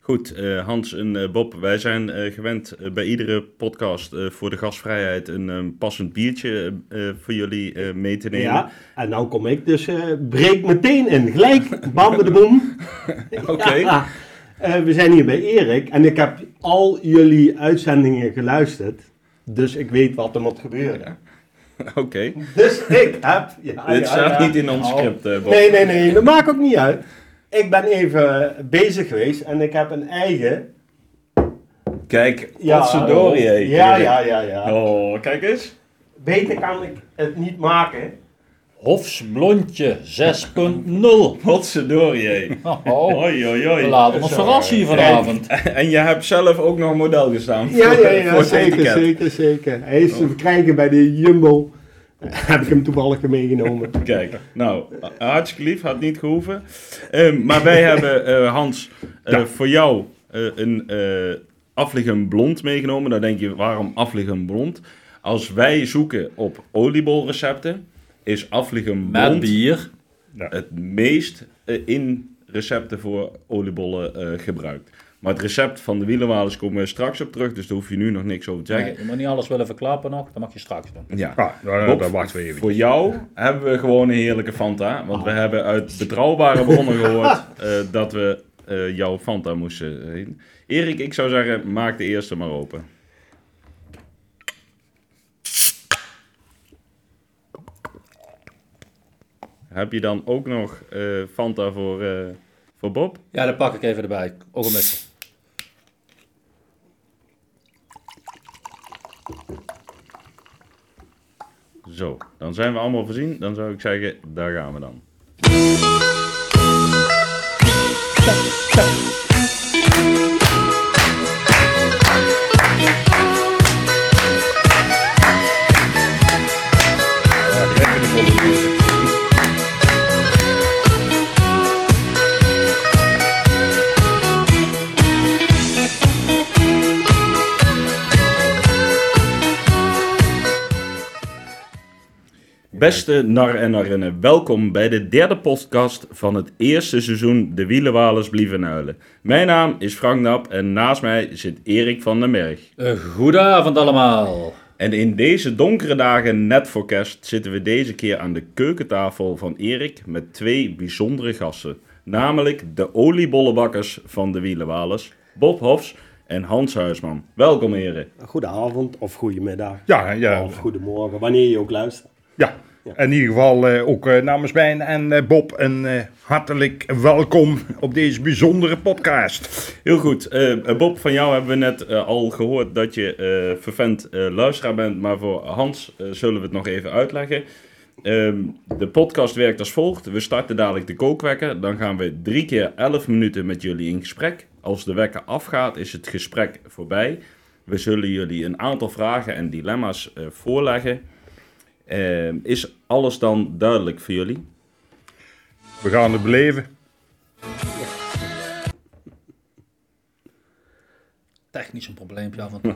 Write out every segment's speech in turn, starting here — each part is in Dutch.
Goed, eh, Hans en eh, Bob, wij zijn eh, gewend eh, bij iedere podcast eh, voor de gastvrijheid een eh, passend biertje eh, eh, voor jullie eh, mee te nemen. Ja, en nou kom ik dus, eh, breek meteen in, gelijk, bam de boem. Oké. Ja. Eh, we zijn hier bij Erik en ik heb al jullie uitzendingen geluisterd, dus ik weet wat er moet gebeuren. Oké. Dus ik heb... Ah, ja, Dit ja, staat ja. niet in ons Nou, script, eh, Bob. Nee, nee, nee, dat maakt ook niet uit. Ik ben even bezig geweest en ik heb een eigen... Kijk, potverdorie, hé, oh. Ja, Erik. ja, ja, ja. Oh, kijk eens. Beter kan ik het niet maken. Hofs Blondje 6.0. Potverdorie, hé. Oh, Hoi, hoi, hoi. we laten ons Zo, verrassen hier vanavond. En je hebt zelf ook nog model gestaan. Ja, voor- ja, ja, voor het zeker, etiket. zeker, zeker. Hij is te verkrijgen bij de Jumbo. Eh, heb ik hem toevallig meegenomen. Kijk, nou, ha- hartstikke lief, had niet gehoeven. Ehm, maar wij hebben, eh, Hans, eh, voor jou eh, een eh afliggen blond meegenomen. Dan denk je, waarom afliggen blond? Als wij zoeken op oliebolrecepten, is afliggen Met blond bier. het meest eh, in recepten voor oliebollen eh, gebruikt. Maar het recept van de wielenwalers komen we straks op terug, dus daar hoef je nu nog niks over te zeggen. Nee, je moet niet alles willen verklappen nog, dat mag je straks doen. Ja. Ja, nou, Bob, dat wachten we even. Oh. Voor jou hebben we gewoon een heerlijke Fanta. Want we hebben uit betrouwbare bronnen gehoord eh, dat we eh, jouw Fanta moesten heen. Erik, ik zou zeggen, maak de eerste maar open. Heb je dan ook nog eh, Fanta voor, eh, voor Bob? Ja, dat pak ik even erbij. Ook een beetje. Zo, dan zijn we allemaal voorzien. Dan zou ik zeggen, daar gaan we dan. Beste nar en narinnen, welkom bij de derde podcast van het eerste seizoen De Wielenwalers Blieven Huilen. Mijn naam is Frank Nap en naast mij zit Erik van den Berg. Eh, goedenavond allemaal. En in deze donkere dagen net voor kerst zitten we deze keer aan de keukentafel van Erik met twee bijzondere gasten. Namelijk de oliebollenbakkers van De Wielenwalers, Bob Hofs en Hans Huisman. Welkom heren. Goedenavond of goedemiddag. Ja, ja, Of goedemorgen, wanneer je ook luistert. ja. In ieder geval eh, ook eh, namens mij en eh, Bob een eh, hartelijk welkom op deze bijzondere podcast. Heel goed. Eh, eh, Bob, van jou hebben we net eh, al gehoord dat je eh vervent eh, luisteraar bent. Maar voor Hans eh, zullen we het nog even uitleggen. Ehm, de podcast werkt als volgt. We starten dadelijk de kookwekker. Dan gaan we drie keer elf minuten met jullie in gesprek. Als de wekker afgaat, is het gesprek voorbij. We zullen jullie een aantal vragen en dilemma's eh, voorleggen. Ehm, is alles dan duidelijk voor jullie? We gaan het beleven. Technisch een probleempje af en toe.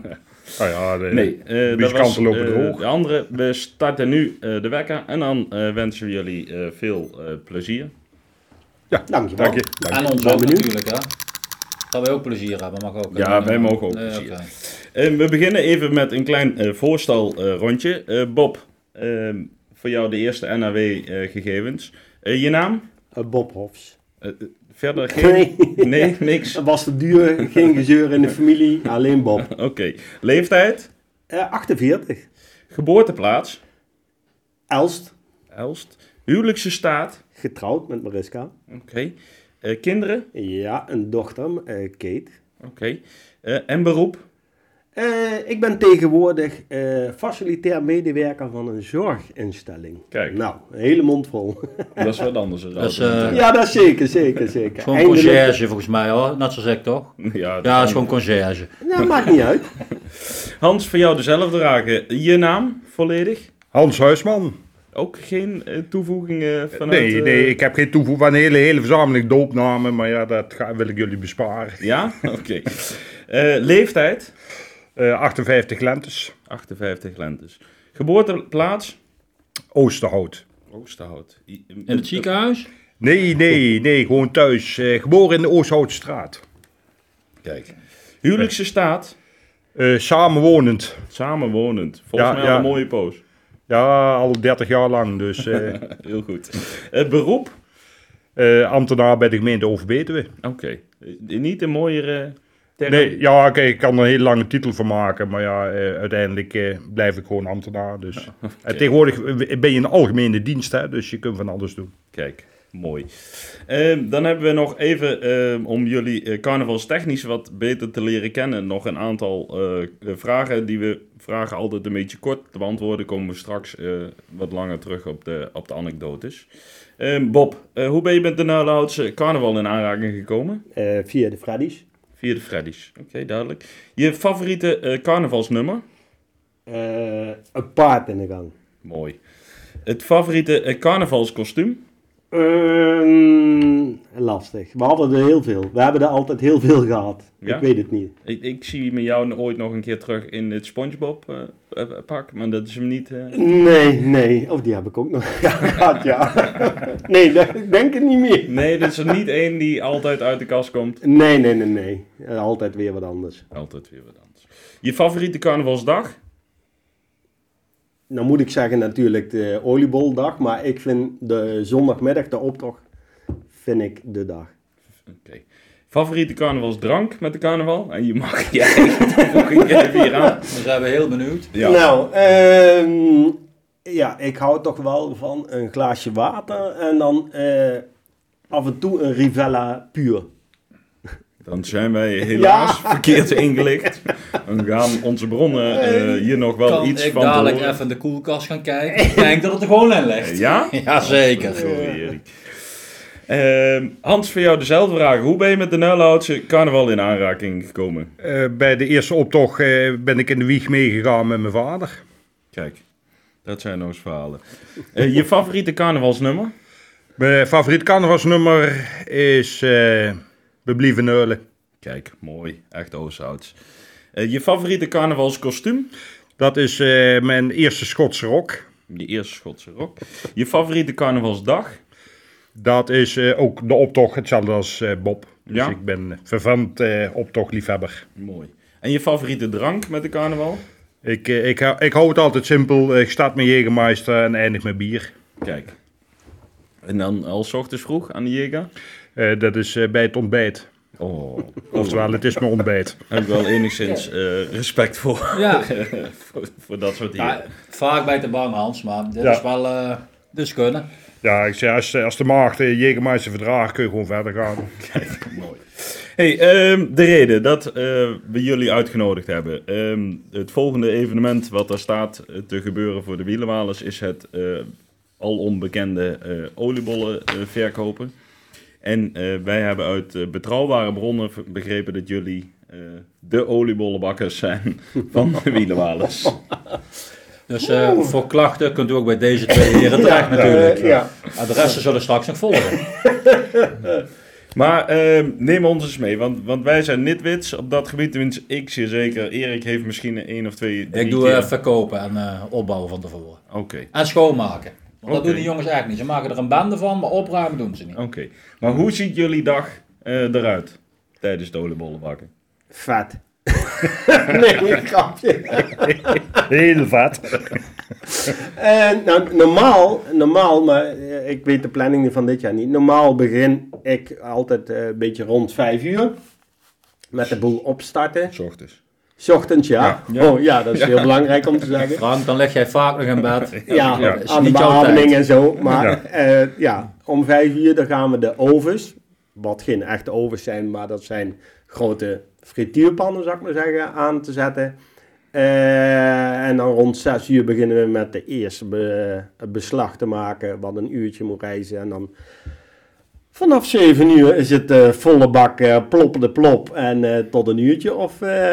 Ah, ja, de- Nee, eh dat muzikanten was eh, lopen droog. de andere. We starten nu eh, de wekker en dan eh, wensen we jullie eh, veel eh, plezier. Dankjewel. Dank je. En ons Ben ook benieuwd. natuurlijk hè. Dat wij ook plezier hebben, mag ook. hè? Ja, wij mogen ook Nee, plezier. oké. Eh, we beginnen even met een klein eh, voorstelrondje. Eh, Bob, eh, voor jou de eerste NAW-gegevens. eh, je naam? Eh, Bob Hofs. Eh, verder geen? Nee. Nee, niks. Dat was te duur, geen gezeur in de familie, alleen Bob. Oké. Leeftijd? Eh, 48. Geboorteplaats? Elst, Elst. Huwelijkse staat? getrouwd met Mariska. Oké. Eh, kinderen? Ja, een dochter, eh, Kate. Oké. Eh, en beroep? Eh, ik ben tegenwoordig eh, facilitair medewerker van een zorginstelling. Kijk. Nou, een hele mond vol. Dat is wat anders. dan Dat is, altijd. eh, Ja, dat zeker, zeker, zeker. Gewoon Eindelijk- conciërge volgens mij hoor, net zoals ik toch? ja, dat Ja, dat is gewoon conciërge. Ja, Nou, maakt niet uit. Hans, voor jou dezelfde vragen. Je naam volledig? Hans Huisman. Ook geen eh, toevoegingen vanuit... Nee, eh, nee, ik heb geen toevoeging van een hele, hele verzameling doopnamen, maar ja, dat ga, wil ik jullie besparen. Ja? Oké. Eh, leeftijd? Eh, 58 lentes, 58 lentes. Geboorteplaats? Oosterhout. Oosterhout. I- eh, In het ziekenhuis? Nee, nee, nee, gewoon thuis. Eh, geboren in de Oosterhoutstraat. Kijk. Huwelijkse staat, Eh, samenwonend. samenwonend. Volgens Ja, mij ja. al een mooie poos. Ja, al 30 jaar lang. Dus eh, Heel goed. Eh, beroep, eh, ambtenaar bij de gemeente Overbetuwe. oké. Eh, Niet een mooiere term. Nee, ja, oké, ik kan er een hele lange titel van maken, maar ja, eh, uiteindelijk eh, blijf ik gewoon ambtenaar. Dus. En tegenwoordig eh, ben je in de algemene dienst, hè, dus je kunt van alles doen. Kijk, mooi. Ehm, dan hebben we nog even, ehm, om jullie eh, carnavalstechnisch wat beter te leren kennen, nog een aantal eh, vragen die we vragen altijd een beetje kort. De antwoorden komen we straks eh, wat langer terug op de, op de anekdotes. Ehm, Bob, eh, hoe ben je met de Nederlandse carnaval in aanraking gekomen? Eh, via de Freddy's. Via de Freddy's. Oké, duidelijk. Je favoriete eh, carnavalsnummer? Eh, een paard in de gang. Mooi. Het favoriete eh, carnavalskostuum? Ehm, lastig. We hadden er heel veel. We hebben er altijd heel veel gehad. Ja? Ik weet het niet. Ik, ik zie me jou ooit nog een keer terug in het SpongeBob eh, eh, pak, maar dat is hem niet. eh. Nee, nee. Of die heb ik ook nog gehad, ja. nee, dat- ik denk het niet meer. Nee, dat is er niet één die altijd uit de kast komt. Nee, nee, nee, nee. Eh, Altijd weer wat anders. Altijd weer wat anders. Je favoriete carnavalsdag? Nou moet ik zeggen natuurlijk de olieboldag, maar ik vind de zondagmiddag, de optocht, vind ik de dag. Oké. Favoriete carnavalsdrank met de carnaval? En je mag jij volgende keer even hier aan. We zijn we heel benieuwd. Ja. Nou, ehm, ja, ik hou toch wel van een glaasje water en dan eh, af en toe een Rivella puur. Dan zijn wij helaas verkeerd ingelicht. Dan gaan onze bronnen eh, hier nog wel kan iets ik van te dadelijk horen. even in de koelkast gaan kijken? Ik denk dat het er gewoon in ligt. Ja? Jazeker. Sorry, Erik. Ehm, Hans, voor jou dezelfde vraag. Hoe ben je met de Nijlhoutse carnaval in aanraking gekomen? Eh, bij de eerste optocht eh, ben ik in de wieg meegegaan met mijn vader. Kijk, dat zijn nog eens verhalen. Eh, je favoriete carnavalsnummer? Mijn favoriet carnavalsnummer is eh We blieven neulen. Kijk, mooi. Echt Oostouds. Eh, je favoriete carnavalskostuum? Dat is eh, mijn eerste Schotse rok. Je eerste Schotse rok. Je favoriete carnavalsdag? Dat is eh, ook de optocht, hetzelfde als eh, Bob. Dus Ja. ik ben vervent eh optochtliefhebber. Mooi. En je favoriete drank met de carnaval? Ik, eh, ik, hou- ik hou het altijd simpel. Ik start met Jägermeister en eindig met bier. Kijk. En dan al 's ochtends vroeg aan de Jega? Eh, dat is eh, bij het ontbijt. Oh, Oftewel, het is mijn ontbijt. Daar heb ik wel enigszins eh, respect voor. Ja. voor. Voor dat soort dingen. Ja, vaak bij de bang Hans, maar dit Ja. is wel eh dus kunnen. Ja, ik zeg, als, als de maagd eh, Jägermeister verdraagt, kun je gewoon verder gaan. Mooi. Hey, ehm, de reden dat eh, we jullie uitgenodigd hebben. Ehm, het volgende evenement wat er staat eh, te gebeuren voor de wielenwalers is het eh, al onbekende eh, oliebollen eh, verkopen. En eh, wij hebben uit eh, betrouwbare bronnen v- begrepen dat jullie eh, de oliebollenbakkers zijn van de wielenwalers. Dus eh, voor klachten kunt u ook bij deze twee heren terecht natuurlijk. Eh, ja. Adressen zullen straks nog volgen. Maar ehm, neem ons eens mee, want, want wij zijn nitwits op dat gebied. Tenminste, ik zeer zeker. Erik heeft misschien een één of twee. drie Ik doe keer- eh, verkopen en eh, opbouwen van tevoren. Oké. En schoonmaken. Want dat Oké. doen die jongens eigenlijk niet. Ze maken er een bende van, maar opruimen doen ze niet. Oké, maar hoe ziet jullie dag eh, eruit tijdens de oliebollenbakken? Vet. nee, een grapje. Heel vet. Eh, nou, normaal, normaal, maar eh, ik weet de planning van dit jaar niet. Normaal begin ik altijd eh, een beetje rond 5 uur. Met de boel opstarten. S ochtends. S ochtends, ja. Oh ja, dat is heel belangrijk om te zeggen. Frank, dan lig jij vaak nog in bed. Ja, dat is aan de dus niet jouw behandeling tijd. en zo. Maar ja, ja om 5 uur dan gaan we de ovens. Wat geen echte ovens zijn, maar dat zijn grote frituurpannen, zou ik maar zeggen, aan te zetten. Eh, en dan rond 6 uur beginnen we met de eerste be- het beslag te maken, wat een uurtje moet reizen. En dan vanaf 7 uur is het eh, volle bak eh ploppende plop. En eh, tot een uurtje of eh,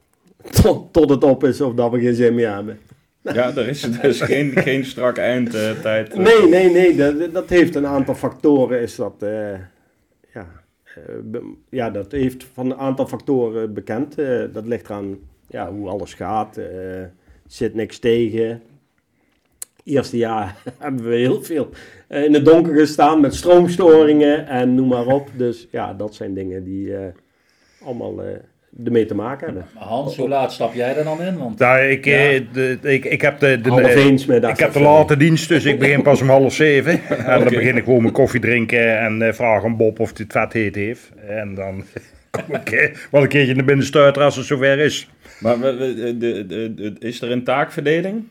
tot, tot het op is of dat we geen zin meer hebben. Ja, er is dus geen, geen strak eh, eindtijd. Nee, nee, nee. Dat, dat heeft een aantal factoren. Is dat, eh, ja, eh, be- ja, dat heeft van een aantal factoren bekend. Eh, dat ligt eraan ja, hoe alles gaat. eh, zit niks tegen. Eerste jaar hebben we heel veel eh, in het donker gestaan met stroomstoringen en noem maar op. Dus ja, dat zijn dingen die eh, allemaal eh ermee te maken hebben. Maar Hans, hoe laat stap jij er dan in? Want Nou, ik, eh, de- ik, ik heb de, de, Half eens met ik heb de late dienst, dus ik begin pas om half zeven. En dan begin ik gewoon mijn koffie drinken en eh, vraag aan Bob of hij het vet heet heeft. En dan kom ik eh, wel een keertje naar binnen stuiteren als het zover is. Maar we- we- de- de- de- is er een taakverdeling?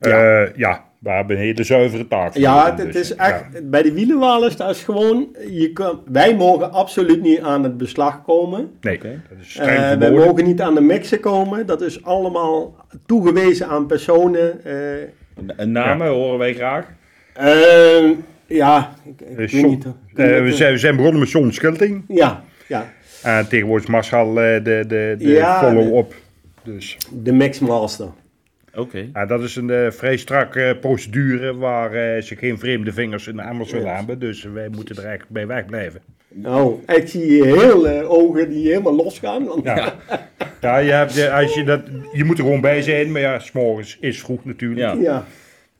Ja, Eh, ja we hebben een hele zuivere taak. voor Ja, hem, het, het dus, is ja. echt, bij de wielenwaal is dat is gewoon, je kan, wij mogen absoluut niet aan het beslag komen. Nee, Oké. dat is Eh, streng wij verboden. mogen niet aan de mixen komen. Dat is allemaal toegewezen aan personen. eh, Een- Een namen horen wij graag. eh, ja, ik, ik Eh, weet John- niet. hoor. Eh, we, zijn, we zijn begonnen met John Schilting. Ja, ja, En tegenwoordig is Marshall eh, de, de, de Ja, follow-up. Dus de mixmaster. Oké. ja, dat is een eh, vrij strakke procedure waar eh, ze geen vreemde vingers in de emmers willen hebben. Dus wij moeten er echt bij wegblijven. Nou, ik zie heel eh, ogen die helemaal losgaan. Want, ja. Ja, ja je, hebt, eh, als je, dat, je moet er gewoon bij zijn, maar ja, s'morgens is vroeg natuurlijk. Ja. Ja,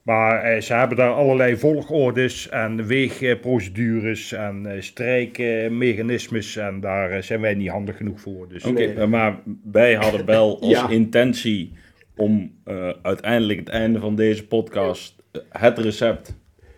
Maar eh, ze hebben daar allerlei volgordes en weegprocedures en eh, strijkmechanismes. En daar eh, zijn wij niet handig genoeg voor. Dus Oké, eh, maar wij hadden wel als Ja. intentie om eh, uiteindelijk het einde van deze podcast eh, het recept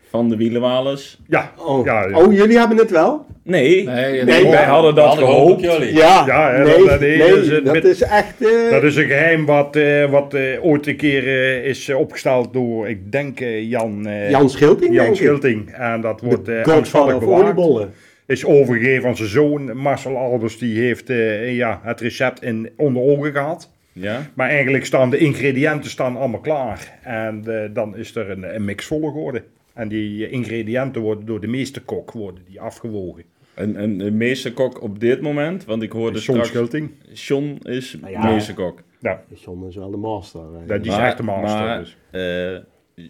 van de wielenwalers. ja, Oh. ja, oh, jullie hebben het wel? Nee, nee, Nee, wij hadden dat gehoopt op gehoopt. jullie. Ja, Ja, hè, nee, dat- nee, nee, dat is een dat bit- is echt... eh, dat is een geheim wat, eh, wat eh, ooit een keer eh, is eh, opgesteld door, ik denk, eh, Jan, eh, Jan Schilting, Jan denk ik. Schilting. En dat wordt eh Godfather angstvallig of bewaakt. oliebollen. Is overgegeven aan zijn zoon, Marcel Albers. Die heeft eh, ja, het recept in onder ogen gehad. Ja, Maar eigenlijk staan de ingrediënten staan allemaal klaar. En eh, dan is er een, een mix volgorde. En die eh, ingrediënten worden door de meesterkok worden die afgewogen. en, en de meesterkok op dit moment, want ik hoorde Dus John straks... Schulting. John is Nou ja. meesterkok. Ja, John is wel de master. hè. dat die is Maar- echt de master. maar, dus. eh,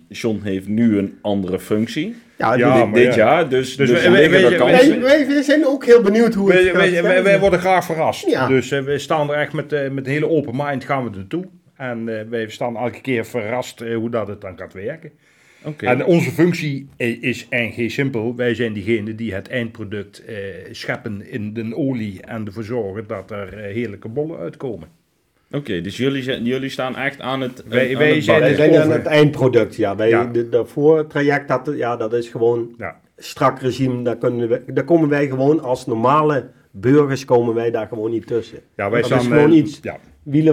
John heeft nu een andere functie ja, ja, dit- Ah, maar dit ja. jaar, dus, dus, we- er we- liggen we- er we- kansen. Wij, wij, wij zijn ook heel benieuwd hoe het Wij, gaat wij, wij, verder. wij worden graag verrast. Ja. Dus eh, we staan er echt met, eh, met een hele open mind gaan we er naartoe. En eh, wij staan elke keer verrast eh, hoe dat het dan gaat werken. Oké. En onze functie eh, is eigenlijk simpel. Wij zijn diegenen die het eindproduct eh, scheppen in de olie en ervoor zorgen dat er eh, heerlijke bollen uitkomen. Oké, dus jullie, zijn- jullie staan echt aan het. Wij- aan wij het zijn- Wij bakken. zijn aan over. het eindproduct, ja. Wij, Ja. De, de voortraject, dat, ja, dat is gewoon Ja. strak regime. Daar, kunnen wij, daar komen wij gewoon als normale burgers komen wij daar gewoon niet tussen. Ja, wij dat staan, is gewoon eh, iets ja.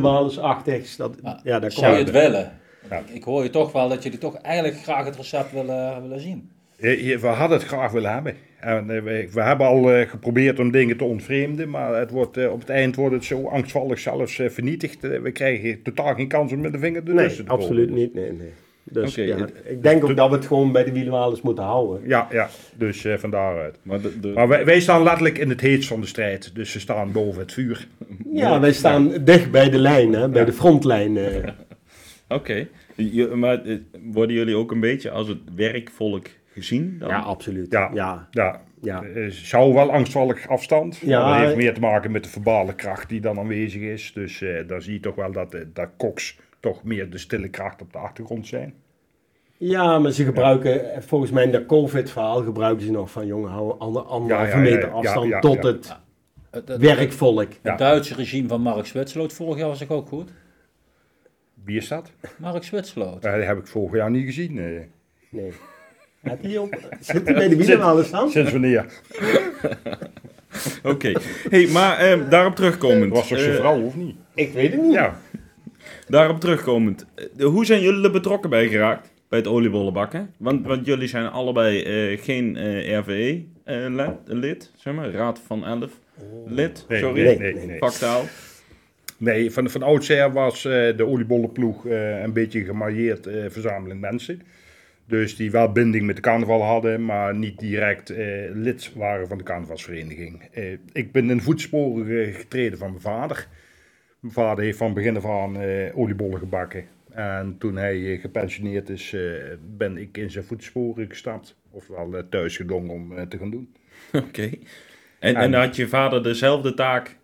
wielenwalersachtigs. Dat, Maar ja, daar Zou je komen het we. willen? Ja. Ik, ik hoor je toch wel dat jullie toch eigenlijk graag het recept willen, willen zien. Eh, je- We hadden het graag willen hebben. En, eh, we, we hebben al eh, geprobeerd om dingen te ontvreemden, maar het wordt, eh, op het eind wordt het zo angstvallig zelfs eh, vernietigd. Eh, we krijgen totaal geen kans om met de vinger ertussen Nee, te komen. absoluut niet. Nee, nee. Dus Oké, ja, het- ik denk ook dat we het gewoon bij de wielenwalers moeten houden. Ja, ja, dus eh, van daaruit. Maar de, de- Maar wij, wij staan letterlijk in het heetst van de strijd, dus we staan boven het vuur. Ja, wij staan dicht bij de lijn, hè, bij de frontlijn. eh. Oké, Je- maar eh, worden jullie ook een beetje als het werkvolk gezien? Dan? Ja, absoluut. Ja. ja. Ja, ja. eh, zou wel angstvallig afstand. Ja, maar dat heeft eh. meer te maken met de verbale kracht die dan aanwezig is. Dus eh dan zie je toch wel dat, eh, dat koks toch meer de stille kracht op de achtergrond zijn. Ja, maar ze gebruiken, eh, volgens mij in dat COVID-verhaal, gebruiken ze nog van jongen, hou ander, anderhalve ja, ja, meter ja, afstand ja, ja. tot het Het, het- werkvolk. Ja. het Duitse regime van Mark Zwitserloot vorig jaar was ik ook goed. Wie is dat? Mark Zwitserloot. Eh, die heb ik vorig jaar niet gezien. eh. Nee. Had die op, zit die bij de wielenwalers dan? Sinds wanneer? Oké, hey, maar eh, daarop terugkomend. Was toch zijn eh, vrouw of niet? Ik weet het niet. Ja. daarop terugkomend. Eh, de- hoe zijn jullie er betrokken bij geraakt? Bij het oliebollenbakken? Want, want jullie zijn allebei eh, E, geen RVE-lid, eh, zeg maar, Raad van Elf lid. Oh. Nee, Sorry, nee, nee, nee. Factaal. Nee, van, van oudsher was eh, de oliebollenploeg eh, een beetje gemarieerd eh, verzameling mensen. Dus die wel binding met de carnaval hadden, maar niet direct eh, lid waren van de carnavalsvereniging. Eh, ik ben in voetsporen eh, getreden van mijn vader. Mijn vader heeft van begin af aan eh, oliebollen gebakken. En toen hij eh, gepensioneerd is, eh, ben ik in zijn voetsporen gestapt. Ofwel eh, thuis gedwongen om eh, te gaan doen. Oké. En, en had je vader dezelfde taak?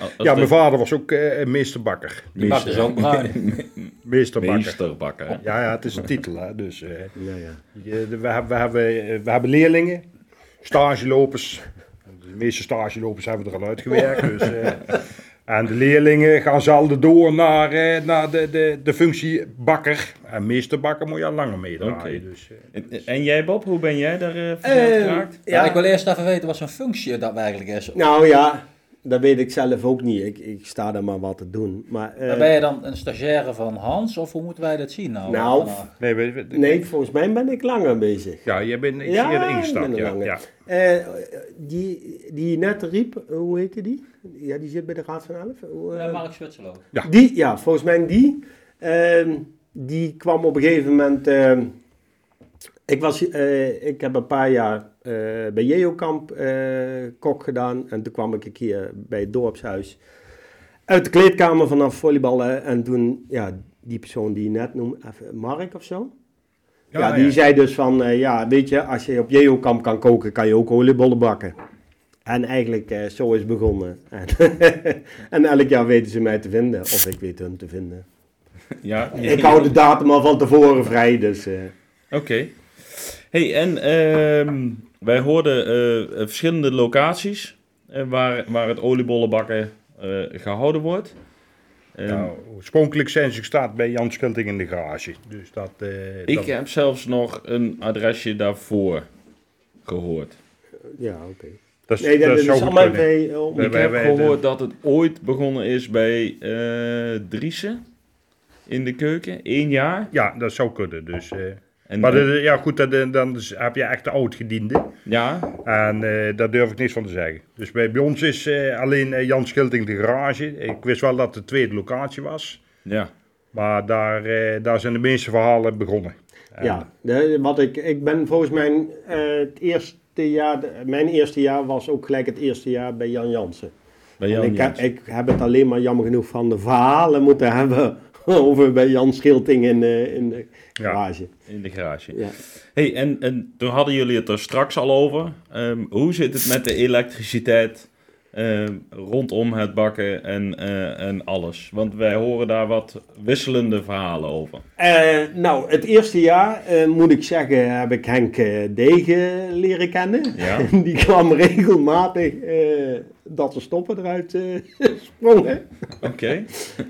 als ja, de mijn vader was ook eh, meesterbakker. Die bak is ook bruin. Meesterbakker. meesterbakker. hè? Ja, ja, het is een titel, hè. Dus, eh, Ja, ja. je- we, hebben- we, hebben, eh, we hebben leerlingen, stagelopers, De meeste stagelopers hebben er al uitgewerkt. Oh. Dus, eh, en de leerlingen gaan zelden door naar, eh, naar de, de, de functie bakker. En meester bakker moet je al langer meedraaien. Oké. Dus, eh, En, en jij Bob, hoe ben jij daar eh verzeild geraakt? Ja. ik wil eerst even weten wat zo'n functie dat eigenlijk is. Ehm, Nou ja, dat weet ik zelf ook niet. Ik, ik sta daar maar wat te doen. Maar, eh, Dan ben je dan een stagiaire van Hans, of hoe moeten wij dat zien nou? Nou, Wat dan? nee, we- we- Nee, volgens mij ben ik langer bezig. Ja, jij bent iets Ja, eerder ik ingestapt. ben er Ja, langer. ja. Eh, die, die net riep, hoe heette die? Ja, die zit bij de Raad van Elf. Hoe, eh, Ja, Mark Zwitserlo. Ja. Die, ja, volgens mij die. ehm, die kwam op een gegeven moment. ehm, ik, was, eh, ik heb een paar jaar eh, bij Jeokamp eh kok gedaan. En toen kwam ik een keer bij het dorpshuis. Uit de kleedkamer vanaf volleyballen. En toen, ja, die persoon die je net noemde, even Mark of zo. Ja, die zei dus van, eh, ja, weet je, als je op Jeokamp kan koken, kan je ook oliebollen bakken. En eigenlijk eh, zo is het begonnen. En, en elk jaar weten ze mij te vinden, of ik weet hun te vinden. Ja, Ik hou de datum al van tevoren vrij, dus... eh, Oké. Hey, en ehm, wij hoorden eh, eh, verschillende locaties eh, waar, waar het oliebollenbakken eh, gehouden wordt. Ehm, Nou, oorspronkelijk zijn ze gestart bij Jan Schilting in de garage. Dus dat, eh, ik dat- heb zelfs nog een adresje daarvoor gehoord. ja, oké. dat, is- Nee, dat, dat dat zou is goed allemaal kunnen. bij... eh, om- Nee, Ik wij- heb wij- de- gehoord dat het ooit begonnen is bij eh Driessen in de keuken. Eén jaar. Ja, dat zou kunnen. Dus, eh, En, maar dat- ja, goed, dat, eh, dan is- heb je echt de oud gediende. ja, En eh, daar durf ik niks van te zeggen. Dus bij, bij ons is eh, alleen eh, Jan Schilting de garage. Ik wist wel dat de tweede locatie was. ja. Maar daar, eh, daar zijn de meeste verhalen begonnen. En- Ja, de- wat ik, ik ben volgens mij eh, het eerste jaar... de- mijn eerste jaar was ook gelijk het eerste jaar bij Jan Jansen. Bij En Jan ik, heb, Jans. ik heb het alleen maar jammer genoeg van de verhalen moeten hebben over bij Jan Schilting in de, in de Ja. garage. in de garage. Ja. Hey, en, en toen hadden jullie het er straks al over. Ehm, hoe zit het met de elektriciteit ehm, rondom het bakken en, eh, en alles? Want wij horen daar wat wisselende verhalen over. Eh, nou, het eerste jaar eh, moet ik zeggen, heb ik Henk eh, Degen leren kennen. Ja. Die kwam regelmatig eh, dat ze stoppen eruit eh, sprongen. Oké.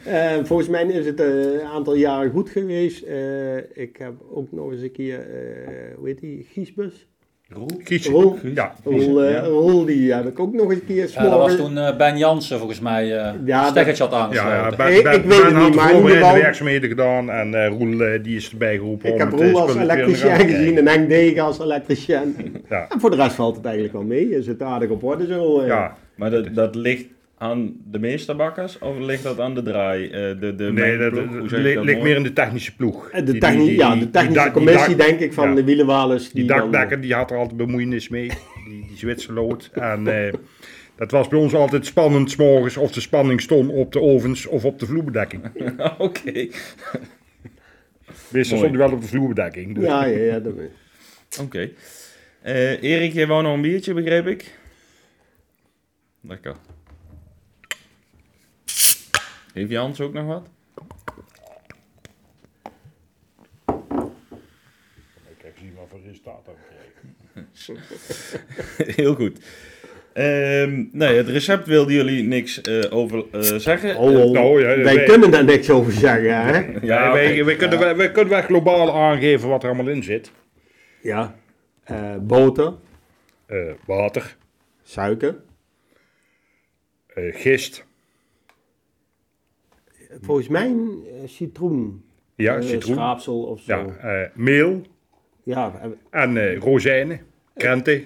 Eh, volgens mij is het eh, een aantal jaren goed geweest. Eh, ik heb ook nog eens een keer, eh, hoe heet die, Giesbus? Roel? Kiezen. Roel. Ja. Roel, eh, Roel, die heb ik ook nog eens een keer Ja, dat was s'morgens- toen eh, Ben Jansen volgens mij eh Ja, dat- stekkertje had aangesloten. Ja, ja, Ik- ben, ik ben, weet ben het had niet, maar in de ieder geval- werkzaamheden gedaan en eh, Roel eh, die is erbij geroepen. Ik om heb het, eh, Roel als spul weer elektricien in de gang te gezien en Henk Degen als elektricien. Ja. En voor de rest valt het eigenlijk wel mee. Is het aardig op orde zo? eh. krijgen. Ja, Maar dat, dat ligt aan de meesterbakkers of ligt dat aan de draai? eh, de, de nee, dat, mengploeg? Hoe dat zeg je li- dat ligt mooi? meer in de technische ploeg. En Eh, De, Die- techni die- die- ja, die- de die technische dak- die commissie, dak- denk ik, van ja. de wielenwalers. Die dan, eh, dakdekker die had er altijd bemoeienis mee, die, die Zwitserlood. En eh, dat was bij ons altijd spannend, 's morgens of de spanning stond op de ovens of op de vloerbedekking. Oké. Meestal Mooi. stond hij wel op de vloerbedekking. dus- Ja, ja, ja. Dat, Oh, Oké. Eh, Erik, jij wou nog een biertje, begreep ik? Lekker. Heeft Jans ook nog wat? Ik heb gezien wat voor resultaat dat kreeg. Heel goed. Ehm nee, het recept wilden jullie niks eh, over eh, zeggen. oh, oh, nou, ja, wij wij- kunnen daar niks over zeggen, hè? Ja, Ja, oké. wij, wij, kunnen, wel- wij kunnen wel globaal aangeven wat er allemaal in zit. Ja. Eh, boter, Eh, water, suiker. eh, gist, Volgens mij eh, citroen. ja, eh, citroen, Schraapsel of zo. ja, Ja. eh, meel eh, en eh rozijnen, krenten,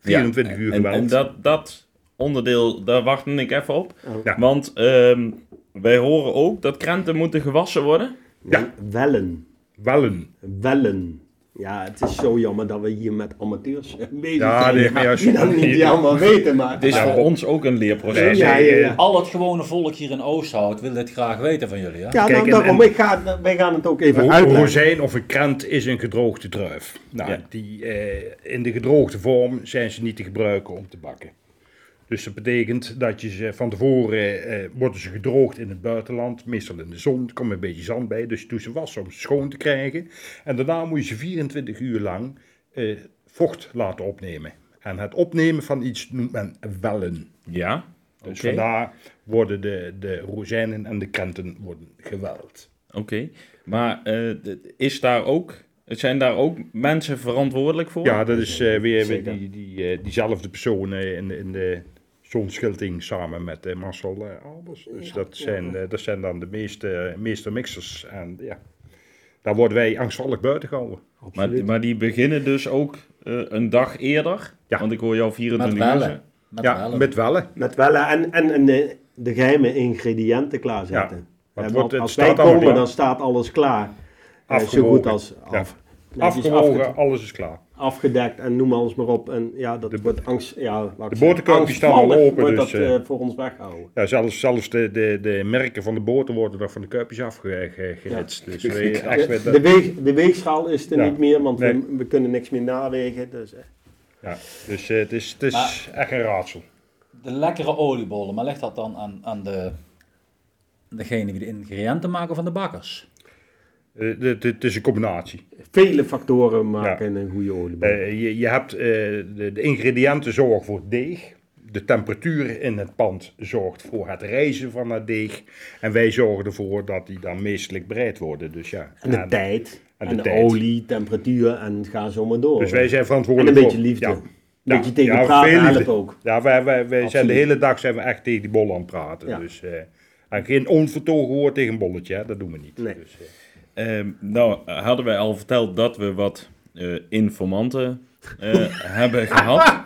24 uur En, geweld. en dat, dat onderdeel, daar wachtte ik even op. Oh. Ja. Want ehm, wij horen ook dat krenten moeten gewassen worden. Ja. Wellen. Wellen. Wellen. Ja, het is zo jammer dat we hier met amateurs bezig Ja, zijn. nee, maar als Die dat je... niet allemaal weten, maar... Het is Ja, voor Bob. ons ook een leerproces. Nee, ja, ja, ja. Al het gewone volk hier in Oosthout wil dit graag weten van jullie. Ja, Hè? Kijk, nou, en- daarom. en- Ik ga, wij gaan het ook even Een uitleggen. rozijn of een krent is een gedroogde druif. Nou, Ja. die, eh, in de gedroogde vorm zijn ze niet te gebruiken om te bakken. Dus dat betekent dat je ze van tevoren eh, worden ze gedroogd in het buitenland, meestal in de zon, er komt een beetje zand bij, dus je doet ze was om ze schoon te krijgen. En daarna moet je ze 24 uur lang eh, vocht laten opnemen. En het opnemen van iets noemt men wellen. Ja? Oké. Dus vandaar worden de, de rozijnen en de krenten worden geweld. Oké. Maar eh, d- is daar ook, zijn daar ook mensen verantwoordelijk voor? Ja, dat is eh, weer, weer Zeker. die, die, eh, diezelfde persoon eh, in, de- in de zonschilting samen met eh, Marcel eh, Albers. Dus dat, zijn, eh, dat zijn dan de meeste, meeste mixers. En ja, daar worden wij angstvallig buiten gehouden. Maar, maar die beginnen dus ook eh, een dag eerder. Ja. Want ik hoor jou 24 Met uur wellen. zeggen. Met ja, wellen. met wellen. Met wel eh, en, en, en de, de geheime ingrediënten klaarzetten. Ja, Hè, want het wordt- het als staat wij allemaal komen, klaar. dan staat alles klaar. Eh, zo Afgewogen. goed als Ja. af, netjes Afgewogen, afged- alles is klaar. afgedekt en noem alles maar op. En ja, dat wordt angst. Ja, laat ik de zeggen, boterkoop die staan al angstvallig open, Wordt dus, dat eh, eh, voor ons weghouden. Ja, zelfs zelfs de, de, de merken van de boten worden nog van de kuipjes afgehitst. Dus wij echt De, met de, weeg, de weegschaal is er Ja. niet meer, want Nee. we, we kunnen niks meer nawegen. Dus, eh. ja, dus eh, het is, het is Maar- echt een raadsel. De lekkere oliebollen, maar ligt dat dan aan, aan de, degene die de ingrediënten maken van de bakkers? Eh, Het het is een combinatie. Vele factoren maken een goede oliebol. Eh, je, je hebt eh, de, de ingrediënten zorgen voor het deeg. De temperatuur in het pand zorgt voor het rijzen van het deeg. En wij zorgen ervoor dat die dan meestelijk bereid worden. Dus ja. en de en- tijd. en En, de de, tijd. olie, temperatuur en ga zo maar door. Dus wij zijn en een verantwoordelijk beetje voor- liefde. Ja. Een beetje tegen ja, veel praten liefde. helpt ook. Ja, wij, wij, wij zijn de Absoluut. hele dag zijn we echt tegen die bollen aan het praten. Ja. Dus, eh, en geen onvertogen woord tegen een bolletje, hè, dat doen we niet. Nee. Dus, eh, Ehm, nou, eh, hadden wij al verteld dat we wat eh, informanten eh, hebben gehad.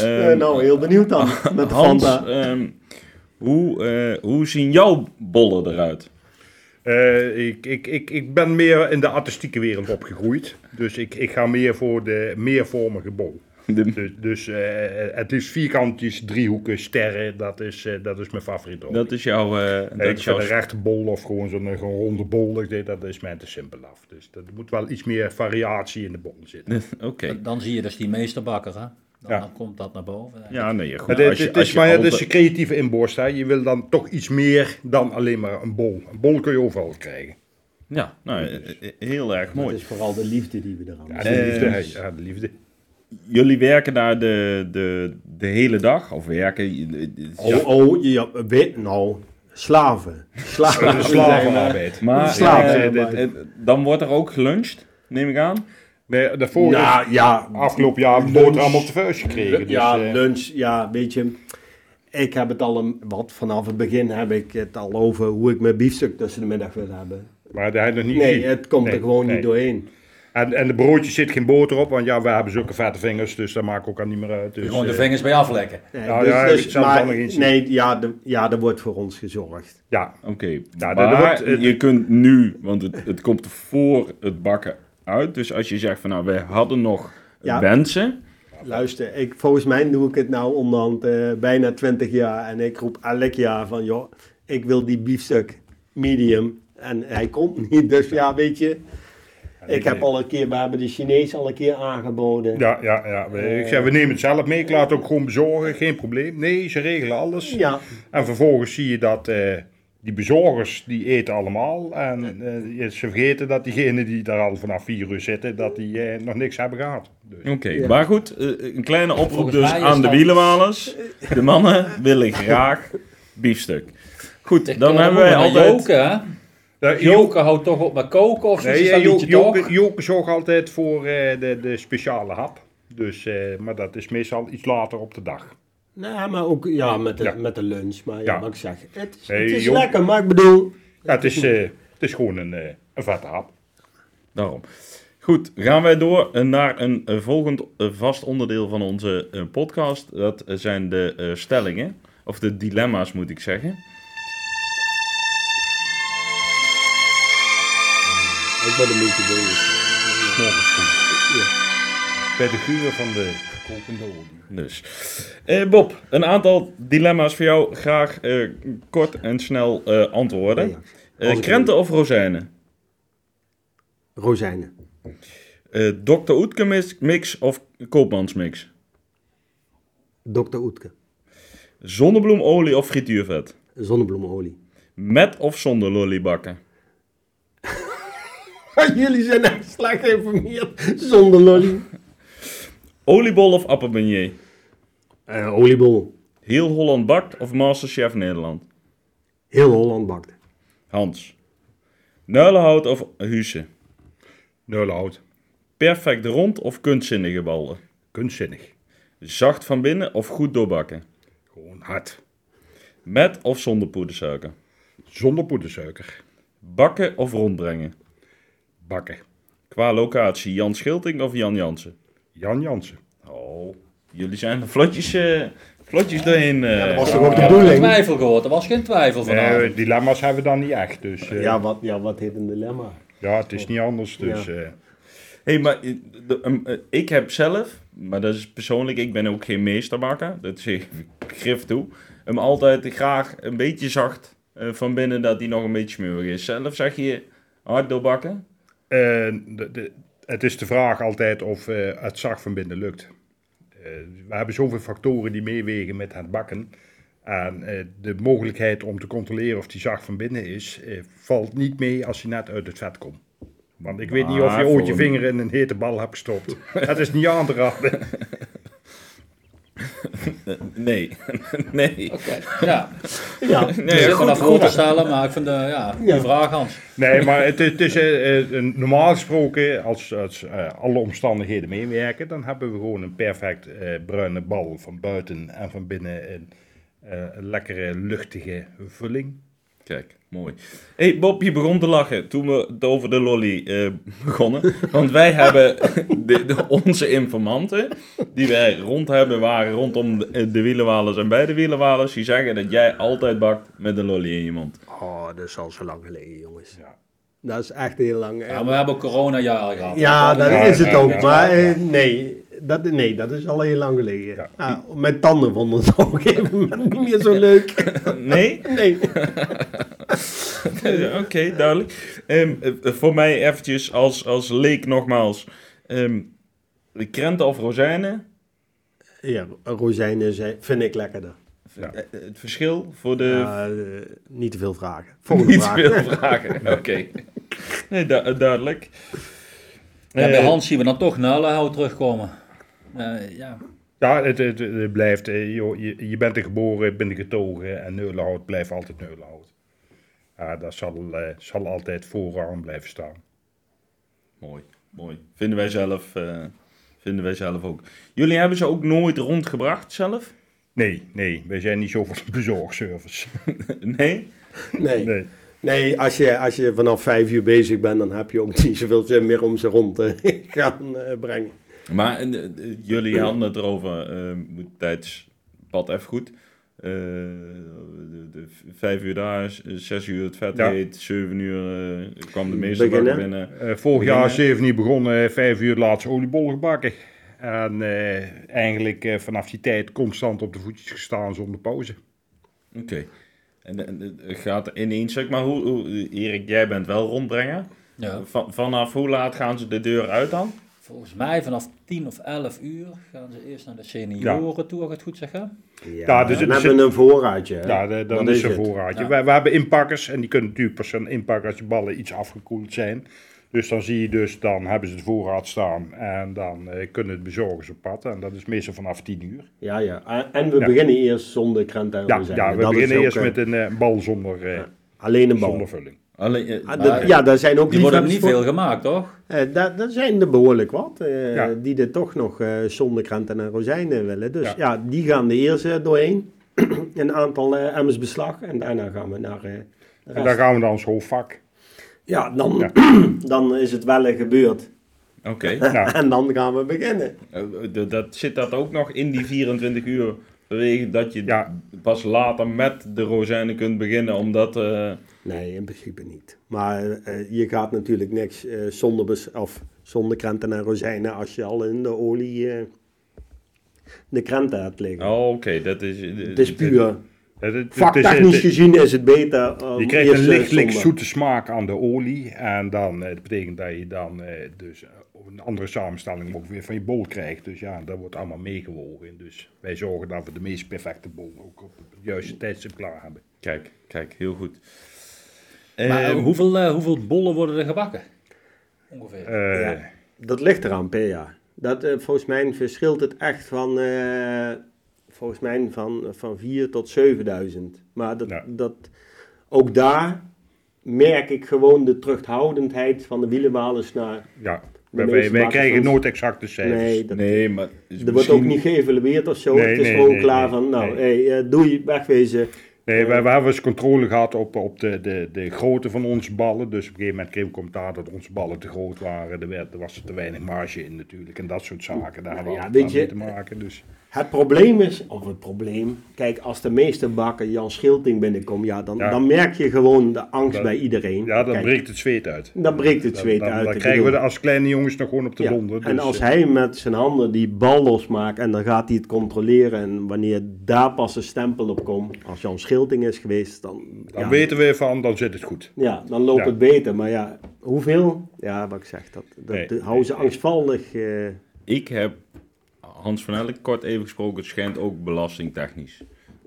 Eh, Ehm, nou, heel benieuwd dan. Met de Hans, Fanta. ehm, hoe, eh, hoe zien jouw bollen eruit? eh, ik, ik, ik, ik ben meer in de artistieke wereld opgegroeid. Dus ik, ik ga meer voor de meervormige bol. Dus, dus eh, het is vierkantjes, driehoeken, sterren, dat is, eh, dat is mijn favoriet. Oh. dat is jouw... eh, dat ik is vind jouw een rechte bol of gewoon zo'n eh, gewoon ronde bol, ik denk, dat is mij te simpel af. Dus dat- er moet wel iets meer variatie in de bol zitten. Oké. Dan zie je dus die meesterbakker, hè? Dan, Ja. dan komt dat naar boven. Ja, nee, goed. Maar dit- als je- dit als is, je maar ja, al dit is de- je creatieve inborst. Hè. Je wil dan toch iets meer dan alleen maar een bol. Een bol kun je overal krijgen. Ja, nou, eh, eh, heel erg Het mooi. is vooral de liefde die we eraan Ja, hebben. de Eh, liefde. hè. Ja, de liefde. Jullie werken daar de, de, de hele dag? Of werken... Oh, oh, ja, weet nou. Slaven. Dat Slaven. is slavenarbeid. Maar Slaap, eh, eh, eh, eh, dan wordt er ook geluncht, neem ik aan. Nee, daarvoor Ja, ja. is afgelopen jaar een boterham op de vuist gekregen. Dus, ja, eh, lunch. Ja, weet je. Ik heb het al een, wat vanaf het begin heb ik het al over hoe ik mijn biefstuk tussen de middag wil hebben. maar dat had je nog niet Nee, gezien. het komt Nee, er gewoon nee. niet doorheen. En, en de broodjes zit geen boter op, want ja, we hebben zulke vette vingers, dus dat maakt ook al niet meer uit. Dus, Gewoon de eh, vingers bij aflekken. Nee, dus- Nou ja, ik zal het wel nog eens zien. nee, ja, de, ja, er wordt voor ons gezorgd. ja, Oké, Ja, maar dat wordt, eh, je kunt nu, want het, het komt voor het bakken uit. Dus als je zegt van nou, wij hadden nog Ja. wensen. Luister, ik, volgens mij doe ik het nou onderhand eh, bijna 20 jaar. En ik roep elk jaar van, joh, ik wil die biefstuk medium. En hij komt niet, dus ja, weet je. Ik heb al een keer, we hebben de Chinees al een keer aangeboden. ja, ja, ja. We, Eh. ik zeg, we nemen het zelf mee, ik laat het ook gewoon bezorgen, geen probleem. Nee, ze regelen alles. Ja, En vervolgens zie je dat eh, die bezorgers, die eten allemaal. En eh, ze vergeten dat diegenen die daar al vanaf vier uur zitten, dat die eh, nog niks hebben gehad. Dus, Oké, Ja. maar goed, eh, een kleine oproep Volgens dus mij is aan de dat- wielenwalers. De mannen willen graag biefstuk. Goed, dan Kom hebben wij maar, altijd... Joke, hè? Eh, Jo- Joke houdt toch op met koken of zo? nee, is eh, dat Jo- liedje Joke, toch? Joke zorgt altijd voor eh, de, de speciale hap. Dus, eh, maar dat is meestal iets later op de dag. nou, maar ook ja, met, de, Ja. met de lunch. Maar ja, Ja. wat ik zeg, het is, Nee, het is joh. lekker, maar ik bedoel... Ja, het, is, eh, het is gewoon een, eh, een vette hap. Daarom. Goed, gaan wij door eh, naar een eh, volgend eh, vast onderdeel van onze eh, podcast. Dat eh, zijn de eh, stellingen, of de dilemma's moet ik zeggen. Ik word een beetje bezig. Morgens goed. Bij de geur van de kokende olie. Dus. Eh, Bob, een aantal dilemma's voor jou. Graag eh, kort en snel eh, antwoorden. Ja, Eh, Als ik- krenten of rozijnen? Rozijnen. Eh Dr. Oetker mix- mix of koopmansmix? Dr. Oetke. Zonnebloemolie of frituurvet? Zonnebloemolie. Met of zonder lollybakken? nou Jullie zijn echt slecht geïnformeerd. Zonder lolly. Oliebol of appelbeignet? Eh, oliebol. Heel Holland bakt of Masterchef Nederland? Heel Holland bakt. Hans. Nuilenhout of Huuse? Nulhout. Perfect rond of kunstzinnige ballen? Kunstzinnig. Zacht van binnen of goed doorbakken? Gewoon hard. Met of zonder poedersuiker? Zonder poedersuiker. Bakken of rondbrengen? Bakken. Qua locatie Jan Schilting of Jan Jansen? Jan Jansen. Oh, jullie zijn er vlotjes, eh, vlotjes doorheen. eh. Was toch ook de Ik heb geen bedoeling? twijfel gehoord, er was geen twijfel vanavond. Eh, dilemma's hebben we dan niet echt. Dus eh, Ja, ja. wat, ja, wat heet een dilemma? het is niet anders. Dus eh, hey, maar eh, de- ehm, eh, ik heb zelf, maar dat is persoonlijk, ik ben ook geen meesterbakker. Dat zeg ik grif toe. Hem altijd graag een beetje zacht eh, van binnen dat hij nog een beetje smerig is. Zelf zeg je hard doorbakken. eh, de- de- het is de vraag altijd of eh, het zacht van binnen lukt. Eh, we hebben zoveel factoren die meewegen met het bakken. En eh, de mogelijkheid om te controleren of die zacht van binnen is, eh, valt niet mee als je net uit het vet komt. Want ik weet niet of Maar je ooit je voor- vinger in een hete bal hebt gestopt. Het is niet aan te raden. Nee, nee. Oké, ja. Ja, Nee, ik zit me goed, naar voor goed. te stellen, maar ik vind de ja, goede Ja. vraag, Hans. Nee, maar het, is- het is eh, eh, een- normaal gesproken, als, als eh, alle omstandigheden meewerken, dan hebben we gewoon een perfect eh, bruine bal van buiten en van binnen een, eh, een lekkere luchtige vulling. Kijk, mooi. hey Bob, je begon te lachen toen we het over de lolly eh, begonnen. Want wij hebben de, de- onze informanten, die wij rond hebben, waren rondom de, de wielenwalers en bij de wielenwalers. Die zeggen dat jij altijd bakt met een lolly in je mond. Oh, dat is al zo lang geleden, jongens. Ja. Dat is echt heel lang. Ja, Ja, maar we hebben ook coronajaren gehad. dat Ja, is het ja, ook. ja. maar eh, nee, dat, nee, dat is al heel lang geleden. Ja. Ja, mijn tanden vonden het op een gegeven moment niet meer zo leuk. Nee? Nee. Oké, duidelijk. Ehm, eh, voor mij eventjes als, als leek nogmaals. ehm krenten of rozijnen? Ja, rozijnen zijn, vind ik lekkerder. Ja. Eh, eh, Het verschil voor de, Ja, eh, niet te veel vragen. Volgende Niet vraag. veel vragen, oké. Nee, du- eh, duidelijk. Ja, bij Eh, Hans zien we dan toch Nuilenhout terugkomen. Eh, ja. Ja, het, het, het blijft, eh, joh, je, je bent er geboren, bent er getogen en neulenhout blijft altijd neulenhout. Ja, dat zal, eh, zal altijd vooraan blijven staan. Mooi, mooi. Vinden wij zelf, eh, vinden wij zelf ook. Jullie hebben ze ook nooit rondgebracht zelf? Nee, nee, wij zijn niet zo van de bezorgservice. Nee? Nee. Nee. Nee, als je, als je vanaf vijf uur bezig bent, dan heb je ook niet zoveel zin meer om ze rond te gaan eh, brengen. Maar eh, eh, jullie hadden het erover eh, moet tijdens pad even goed. Eh, de, de vijf uur daar, z- zes uur het vet Ja. heet, zeven uur eh, kwam de meeste Beginnen. bakker binnen. Eh, vorig jaar is zeven uur begonnen, eh, vijf uur laatst oliebollen gebakken. En eh, eigenlijk eh, vanaf die tijd constant op de voetjes gestaan zonder pauze. Oké. En, en het gaat ineens, zeg maar, hoe, hoe, Erik, jij bent wel rondbrenger. ja. Van- vanaf hoe laat gaan ze de deur uit dan? Volgens mij vanaf 10 of 11 uur gaan ze eerst naar de senioren toe, als ik het goed zeg. hè? Ja, Ja, dus dan het is- hebben we een voorraadje. hè. Ja, de- dan Dat is er het. voorraadje. Ja. We, we hebben inpakkers en die kunnen natuurlijk pas gaan inpakken als je ballen iets afgekoeld zijn. Dus dan zie je dus, dan hebben ze de voorraad staan en dan eh, kunnen de bezorgers op pad. En dat is meestal vanaf 10 uur. Ja, ja. En- En we Ja. beginnen eerst zonder krent en Ja, rozijnen. ja we Dat is beginnen ook, eerst eh, met een eh, bal zonder, eh, Alleen een bal. zonder vulling. Alleen, eh, Ah, maar- dat- ja, daar zijn ook Die worden niet liefhebbers veel gemaakt, toch? voor. Eh, daar, daar zijn er behoorlijk wat eh, Ja. die er toch nog eh, zonder krent en rozijnen willen. Dus Ja. ja, die gaan de eerst eh, doorheen. een aantal eh, emmers beslag. En daarna gaan we naar... eh, de En rest. dan gaan we naar ons hoofdvak. Ja, dan, dan is het wel gebeurd. ah, Oké, Ja. En dan gaan we beginnen. Eh, d- dat, zit dat ook nog in die 24 uur? Vanwege dat je Ja. pas later met de rozijnen kunt beginnen, omdat... eh, Nee, in principe niet. Maar eh, je gaat natuurlijk niks eh, zonder, bes- of zonder krenten en rozijnen als je al in de olie eh, de krenten hebt liggen. oh, oké, dat is... het is puur. Het- het- het is- Vaktechnisch het- gezien is het beter. om Je krijgt eerst, een eh, lichtelijk zonder- zoete smaak aan de olie. En dan, eh, dat betekent dat je dan eh, dus eh, een andere samenstelling ook weer van je bol krijgt. Dus ja, dat wordt allemaal meegewogen. Dus wij zorgen dat we de meest perfecte bol ook op het juiste tijdstip klaar hebben. Kijk, kijk, heel goed. Maar Ehm, eh, hoeveel, eh, hoeveel bollen worden er gebakken? Ongeveer. Eh, Ja, dat ligt eraan per jaar. Dat, eh, volgens mij verschilt het echt van, eh, volgens mij van, van 4 tot 7000. Maar dat, Ja. dat, ook daar merk ik gewoon de terughoudendheid van de wielenwalers naar. Ja, De wij, wij, meeste wij maken krijgen soms- nooit exacte cijfers. Nee, dat, Nee, maar... is er wordt misschien- ook niet geëvalueerd of zo. dus- Nee, het is nee, gewoon nee, klaar nee, van, nou, nee. hey, eh, doei, wegwezen. Nee, we, we hebben eens controle gehad op, op de, de, de grootte van onze ballen. Dus op een gegeven moment kreeg ik commentaar dat onze ballen te groot waren. Er, werd, er was er te weinig marge in natuurlijk. En dat soort zaken. Daar hadden we ja, altijd weet mee je, te maken. Dus. Het probleem is, of het probleem, kijk, als de meesterbakker Jan Schilting binnenkomt, ja, dan, Ja. dan merk je gewoon de angst Dat- bij iedereen. Ja, dan Kijk, breekt het zweet uit. dan breekt het zweet dan, dan, uit. Dan ik krijgen we bedoel. de, als kleine jongens nog gewoon op de Ja, donder. en dus, als eh, hij met zijn handen die bal losmaakt en dan gaat hij het controleren en wanneer daar pas een stempel op komt, als Jan Schilting is geweest, dan, Dan ja, Oh, weten we van, dan zit het goed. ja, dan loopt Ja. het beter. Maar ja, hoeveel? Ja, wat ik zeg, dat, dat Nee, houden ze angstvallig. eh, Ik heb Hans van Elk kort even gesproken. Het schijnt ook belastingtechnisch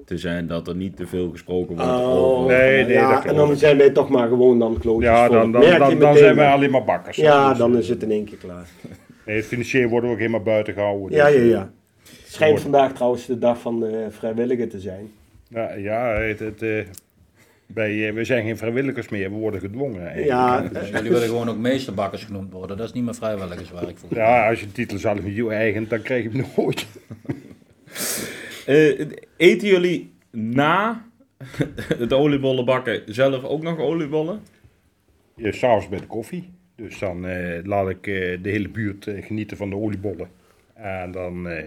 te zijn dat er niet te veel gesproken wordt Oh. over... nee, nee, dat ja, geloof en dan ik. zijn wij toch maar gewoon dan klootjes Ja, volk. dan, dan, dus Merk je dan, dan meteen zijn wel. we alleen maar bakkers. Ja, Dus, dan eh, is het in één keer klaar. nee, financieel worden we ook helemaal buiten gehouden. Ja, dus, ja, eh, ja. Het schijnt Mooi. vandaag trouwens de dag van de vrijwilliger te zijn. Ja, ja het, het, eh, wij, eh, we zijn geen vrijwilligers meer, we worden gedwongen. eigenlijk. Ja, Dus jullie willen gewoon ook meesterbakkers genoemd worden. Dat is niet meer vrijwilligerswerk voor. Ja, als je de titel zelf niet je eigen, dan krijg je hem nooit. Eh, eten jullie na het oliebollen bakken zelf ook nog oliebollen? Ja, S'avonds bij de koffie. Dus dan eh, laat ik eh, de hele buurt eh, genieten van de oliebollen. En dan eh,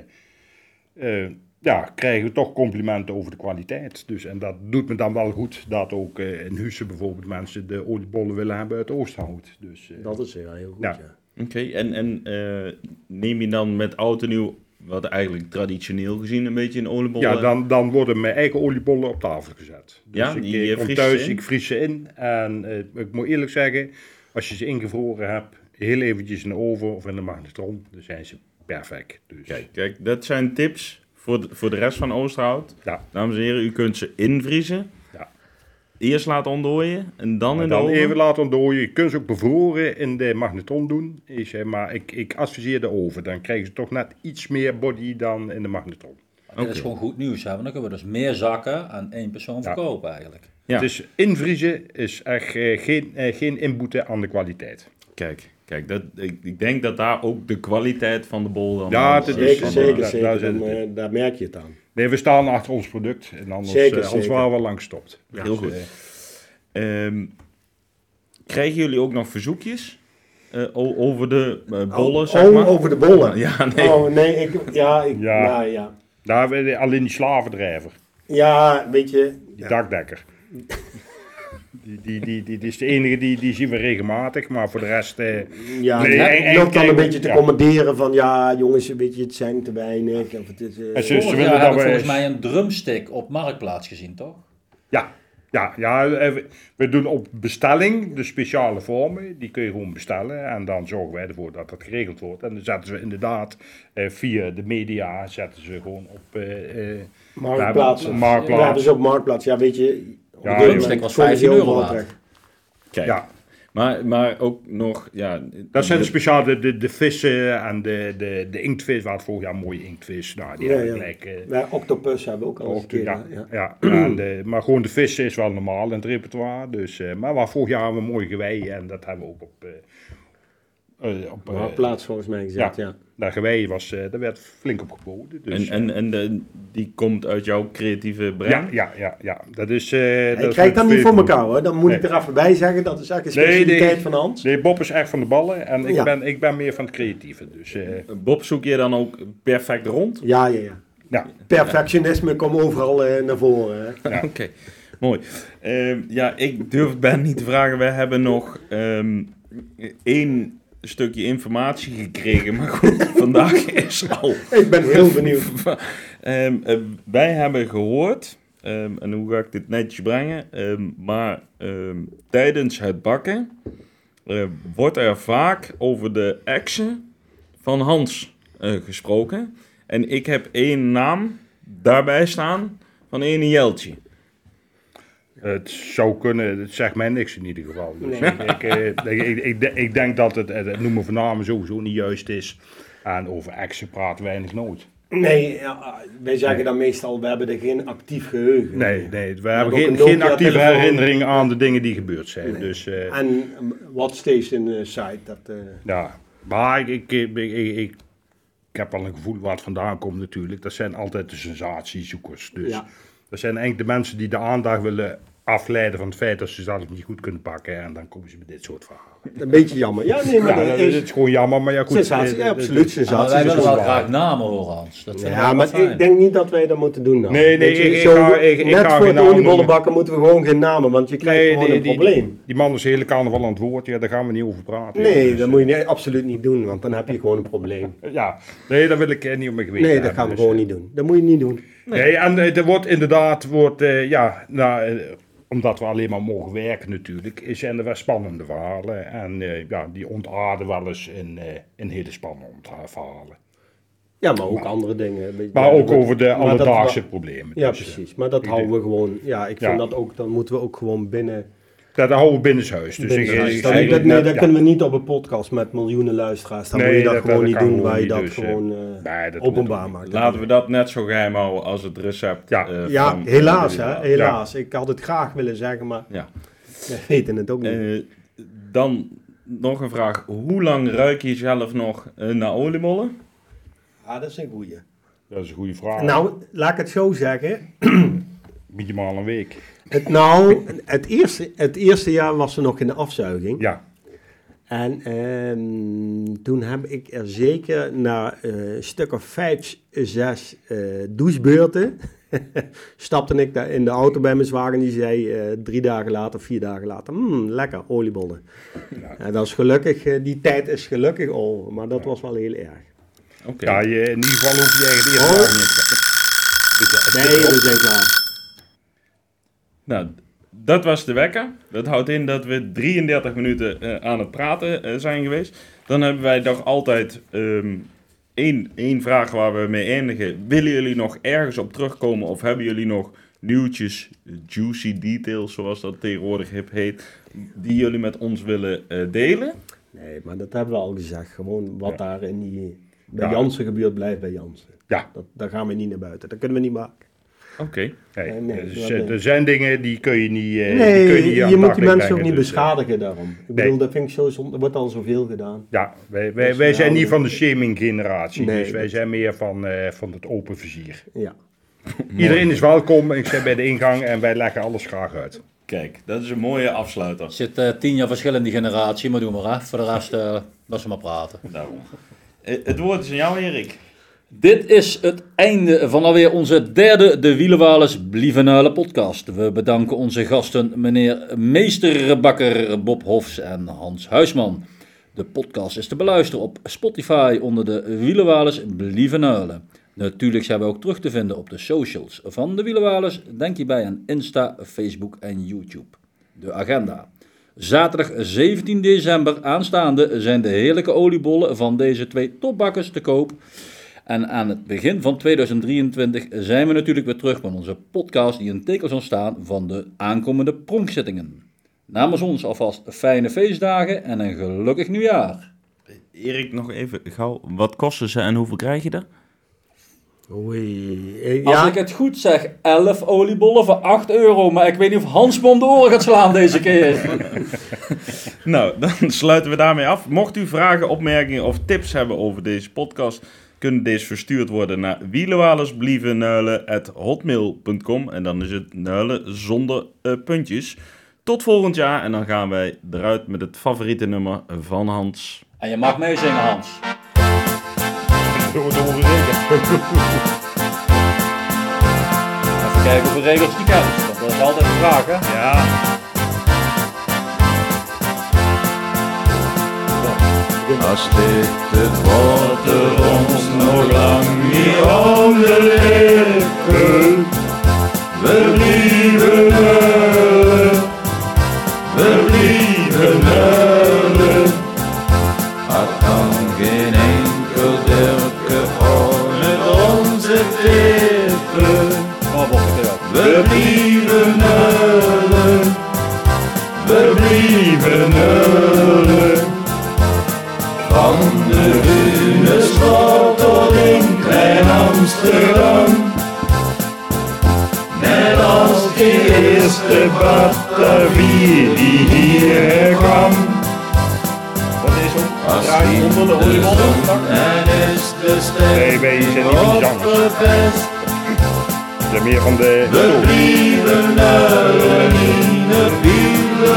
eh, ja, krijgen we toch complimenten over de kwaliteit. Dus, en dat doet me dan wel goed dat ook eh, in Hussen bijvoorbeeld mensen de oliebollen willen hebben uit Oosterhout. Dus, eh, dat is wel heel goed. Ja. ja. Oké, en, en eh, neem je dan met oud en nieuw, wat eigenlijk traditioneel gezien een beetje een oliebol... Ja, dan, dan worden mijn eigen oliebollen op tafel gezet. Dus Ja, ik die, eh, eh, kom vries je thuis, in? ik vries ze in. En eh, ik moet eerlijk zeggen, als je ze ingevroren hebt, heel eventjes in de oven of in de magnetron, dan zijn ze perfect. Dus, Kijk, kijk, dat zijn tips voor de, voor de rest van Oosterhout. Ja. Dames en heren, u kunt ze invriezen. Ja. Eerst laten ontdooien en dan En in de dan oven. even laten ontdooien. Je kunt ze ook bevroren in de magnetron doen. Ik zeg, maar ik, ik adviseer de oven. Dan krijgen ze toch net iets meer body dan in de magnetron. Maar Dit is gewoon goed nieuws, hè? want dan kunnen we dus meer zakken aan één persoon verkopen eigenlijk. Ja. Dus invriezen is echt eh, geen, eh, geen inboete aan de kwaliteit. Kijk, kijk dat, ik, ik denk dat daar ook de kwaliteit van de bol dan... Ja, wel, dat eh, is- van, Zeker, eh, zeker, daar- nou, daar zeker. zit Dan, het eh, daar merk je het aan. Nee, we staan achter ons product. En anders, Zeker, eh, anders zeker. waren we lang gestopt. Heel goed. Ehm, krijgen jullie ook nog verzoekjes eh, o- over de eh, bollen, oh, zeg maar? over de bollen. Ja, nee. Oh, nee, ik, ja, ik, Ja. ja. Nou, ja. Daar, hebben we alleen die slavendrijver, Ja, weet je. die dakdekker. Die, die, die, die, die is de enige die, die zien we regelmatig, maar voor de rest. eh, Ja, Nee, en- en nee, loopt dan kijk, een beetje te ja. commanderen van ja, jongens, weet je, het zijn te weinig. Of het is, eh, En ze- Dus ze Vorig willen jaar dat hebben we we volgens eens- mij een drumstick op Marktplaats gezien, toch? ja, ja, ja eh, we- we doen op bestelling de speciale vormen, die kun je gewoon bestellen. En dan zorgen wij ervoor dat dat geregeld wordt. En dan zetten ze inderdaad eh, via de media, zetten ze gewoon op. eh, eh, marktplaats. daar- Marktplaats. Ja, dus op marktplaats. Ja, weet je. op Ja, een gegeven joh. moment was komen ze 15 heel euro veel waard. terecht. Kijk, ja. maar, maar ook nog... Ja, Dat zijn de speciaal de, de, de vissen en de, de, de inktvis. We hadden vorig jaar een mooie inktvis. Nou, die Ja, hebben ja. gelijk. eh, Wij octopus hebben we ook al eens een Ook keer. de- Ja, ja, ja. ja. en de- maar gewoon de vissen is wel normaal in het repertoire. Dus, eh, maar waar vorig jaar hebben we mooi gewei en dat hebben we ook op. eh, eh, op eh, Marktplaats volgens mij gezegd, ja. daar gewei was, eh, daar werd flink op geboden. Dus, En, en, en de- die komt uit jouw creatieve brein? ja, ja, ja, ja, dat is. eh Hij dat krijgt dat niet vind- voor elkaar hoor, dan moet ik Nee. er even bij zeggen. Dat is eigenlijk een Nee, specialiteit nee. van Hans. Nee, Bob is echt van de ballen en ik, Ja. ben, ik ben meer van het creatieve. Dus, eh, Bob, zoek je dan ook perfect rond? Ja, ja, ja. ja. Perfectionisme komt overal eh, naar voren. Hè. Oké, mooi. Ehm, ja, ik durf het Ben niet te vragen. We hebben nog ehm, één stukje informatie gekregen. Maar goed, vandaag is al Ik ben heel benieuwd. Ehm, eh, wij hebben gehoord, ehm, en hoe ga ik dit netjes brengen, ehm, maar ehm, tijdens het bakken eh, wordt er vaak over de exen van Hans eh, gesproken. En ik heb één naam daarbij staan van ene Jeltje. Het zou kunnen, het zegt mij niks in ieder geval. Dus Nee. ik, ik, eh, ik, ik, ik, ik denk dat het, het noemen van namen sowieso niet juist is. En over action praat weinig nooit. Nee, ja, wij zeggen dan meestal, we hebben er geen actief geheugen. Nee, nee we hebt hebben ook geen, een geen Nokia actieve telefoon. herinnering aan de dingen die gebeurd zijn. Dus, eh, En um, wat steeds in de site. Dat, eh, Ja, maar ik, ik, ik, ik, ik- ik heb wel een gevoel waar het vandaan komt natuurlijk. Dat zijn altijd de sensatiezoekers. Dus Ja. dat zijn eigenlijk de mensen die de aandacht willen afleiden van het feit dat ze zelf niet goed kunnen pakken. En dan komen ze met dit soort verhalen. een beetje jammer. Ja, nee, maar Ja, Nou, dat dat is, is, het is gewoon jammer, maar ja goed. sensatie. eh, Ja, eh, absoluut Ja, maar wij sensatie. is willen ook wel waar. graag namen horen, Hans. Dat vinden Ja, we maar wel fijn. ik denk niet dat wij dat moeten doen. Nou. Nee, nee, Weet je, ik- ik zo ga- ik- ik net ga voor geen de namen oliebollenbakken moeten we gewoon geen namen, want je krijgt Nee, gewoon die, een die- probleem. Die, man is de hele carnaval aan het woord. Ja, daar gaan we niet over praten. Nee, Dus, dat moet je niet- absoluut niet doen, want dan heb je gewoon een probleem. eh, Ja, nee, dat wil ik eh, niet op mijn geweten Nee, dat hebben, gaan we dus, gewoon niet doen. Dat moet je niet doen. Nee, en eh, er wordt inderdaad, wordt, eh, ja, nou, eh, omdat we alleen maar mogen werken natuurlijk, eh, zijn er wel spannende verhalen. En eh, ja, die ontaarden wel eens in, eh, in hele spannende verhalen. Ja, maar ook andere dingen. Een beetje- Maar ook over de maar dat- alledaagse problemen. Ja, Dus, eh, precies. Maar dat houden we gewoon. Ja, ik vind Ja. dat ook. Dan moeten we ook gewoon binnen. Dat houden we binnenshuis. Dus binnen ik- zijn. ik- dat, eigenlijk dat, nee, net- dat ja. kunnen we niet op een podcast met miljoenen luisteraars. Dan Nee, moet je dat, dat- gewoon dat niet kan doen. gewoon Waar je niet, dat dus, eh, gewoon eh, nee, dat openbaar moet- maakt. Laten we dat net zo geheim houden als het recept. Ja. eh, ja, van- helaas, hè, Ja. helaas. Ik had het graag willen zeggen, maar Ja. we weten het ook niet. Eh, dan nog een vraag. Hoe lang ruik je zelf nog eh, naar oliebollen? ah, dat is een goeie. Dat is een goede vraag. Nou, laat ik het zo zeggen. Minimaal een week. Het, nou, het eerste, het eerste jaar was ze nog in de afzuiging. Ja, En ehm, toen heb ik er zeker na eh, een stuk of vijf, zes eh, douchebeurten, stapte ik daar in de auto bij mijn zwager en die zei eh, drie dagen later, vier dagen later, "Mm, lekker, oliebollen. En dat is gelukkig, eh, die tijd is gelukkig over, maar dat was wel heel erg. Oké. ja je, in ieder geval hoef je eigenlijk de eerste Oh. dag niet te Nee, we zijn klaar. Nou, dat was de wekker. Dat houdt in dat we 33 minuten eh, aan het praten eh, zijn geweest. Dan hebben wij nog altijd ehm, één, één vraag waar we mee eindigen. Willen jullie nog ergens op terugkomen of hebben jullie nog nieuwtjes, eh, juicy details zoals dat tegenwoordig hip heet, die jullie met ons willen eh, delen? Nee, maar dat hebben we al gezegd. Gewoon wat daar in die, bij Ja. Jansen gebeurt, blijft bij Jansen. Ja. Dat, daar gaan we niet naar buiten, dat kunnen we niet maken. Oké. Nee, Nee, nee, dus, dat eh, niet. er zijn dingen die kun je niet. eh, Nee, die kun je, je, niet aan moet tafel die mensen ook brengen, niet dus, eh, beschadigen daarom. Ik bedoel, dat vind ik zo zonde. Er wordt al zoveel gedaan. Ja, wij, wij, Dus wij zijn nou, niet van de shaming generatie, Nee, dus wij dat- zijn meer van, eh, van het open vizier. Ja. Iedereen is welkom, ik zit bij de ingang en wij leggen alles graag uit. Kijk, dat is een mooie afsluiter. Er zit eh, tien jaar verschil in die generatie, maar doe maar hè. Voor de rest, eh laat ze maar praten. Daarom. Eh, Het woord is aan jou, Erik. Dit is het einde van alweer onze derde De Wielenwalers Blievenuilen podcast. We bedanken onze gasten meneer Meesterbakker Bob Hofs en Hans Huisman. De podcast is te beluisteren op Spotify onder De Wielenwalers Blievenuilen. Natuurlijk zijn we ook terug te vinden op de socials van De Wielenwalers. Denk hierbij aan Insta, Facebook en YouTube. De agenda. Zaterdag 17 december aanstaande zijn de heerlijke oliebollen van deze twee topbakkers te koop... En aan het begin van 2023 zijn we natuurlijk weer terug met onze podcast die in het teken zal staan van de aankomende pronkzittingen. Namens ons alvast fijne feestdagen en een gelukkig nieuwjaar. Erik, nog even gauw. Wat kosten ze en hoeveel krijg je er? Oei. Eh, Als Ja, ik het goed zeg, 11 oliebollen voor 8 euro, maar ik weet niet of Hans me om de oren gaat slaan deze keer. Nou, dan sluiten we daarmee af. Mocht u vragen, opmerkingen of tips hebben over deze podcast, kunnen deze verstuurd worden naar wielenwalersblievennuilen.hotmail.com en dan is het nuilen zonder eh, puntjes. Tot volgend jaar en dan gaan wij eruit met het favoriete nummer van Hans. En je mag meezingen Hans. Door de oren zeker. Even kijken hoeveel regels die kent, want dat is altijd een vraag hè. Ja, Als dit het wordt er ons nog lang niet om de lippen. We blijven huilen, we blijven huilen. Het kan geen enkel derke met onze tippen. Oh, Bob, ik weet ook. We blijven huilen, we blijven huilen. Van de dunne slang. Amsterdam. Net als de eerste Batavier die hier kwam. Als die zong en is de Nee, wij zijn niet ster met op zangers. de vest. We zijn meer van de... We blieven uilen in het wielen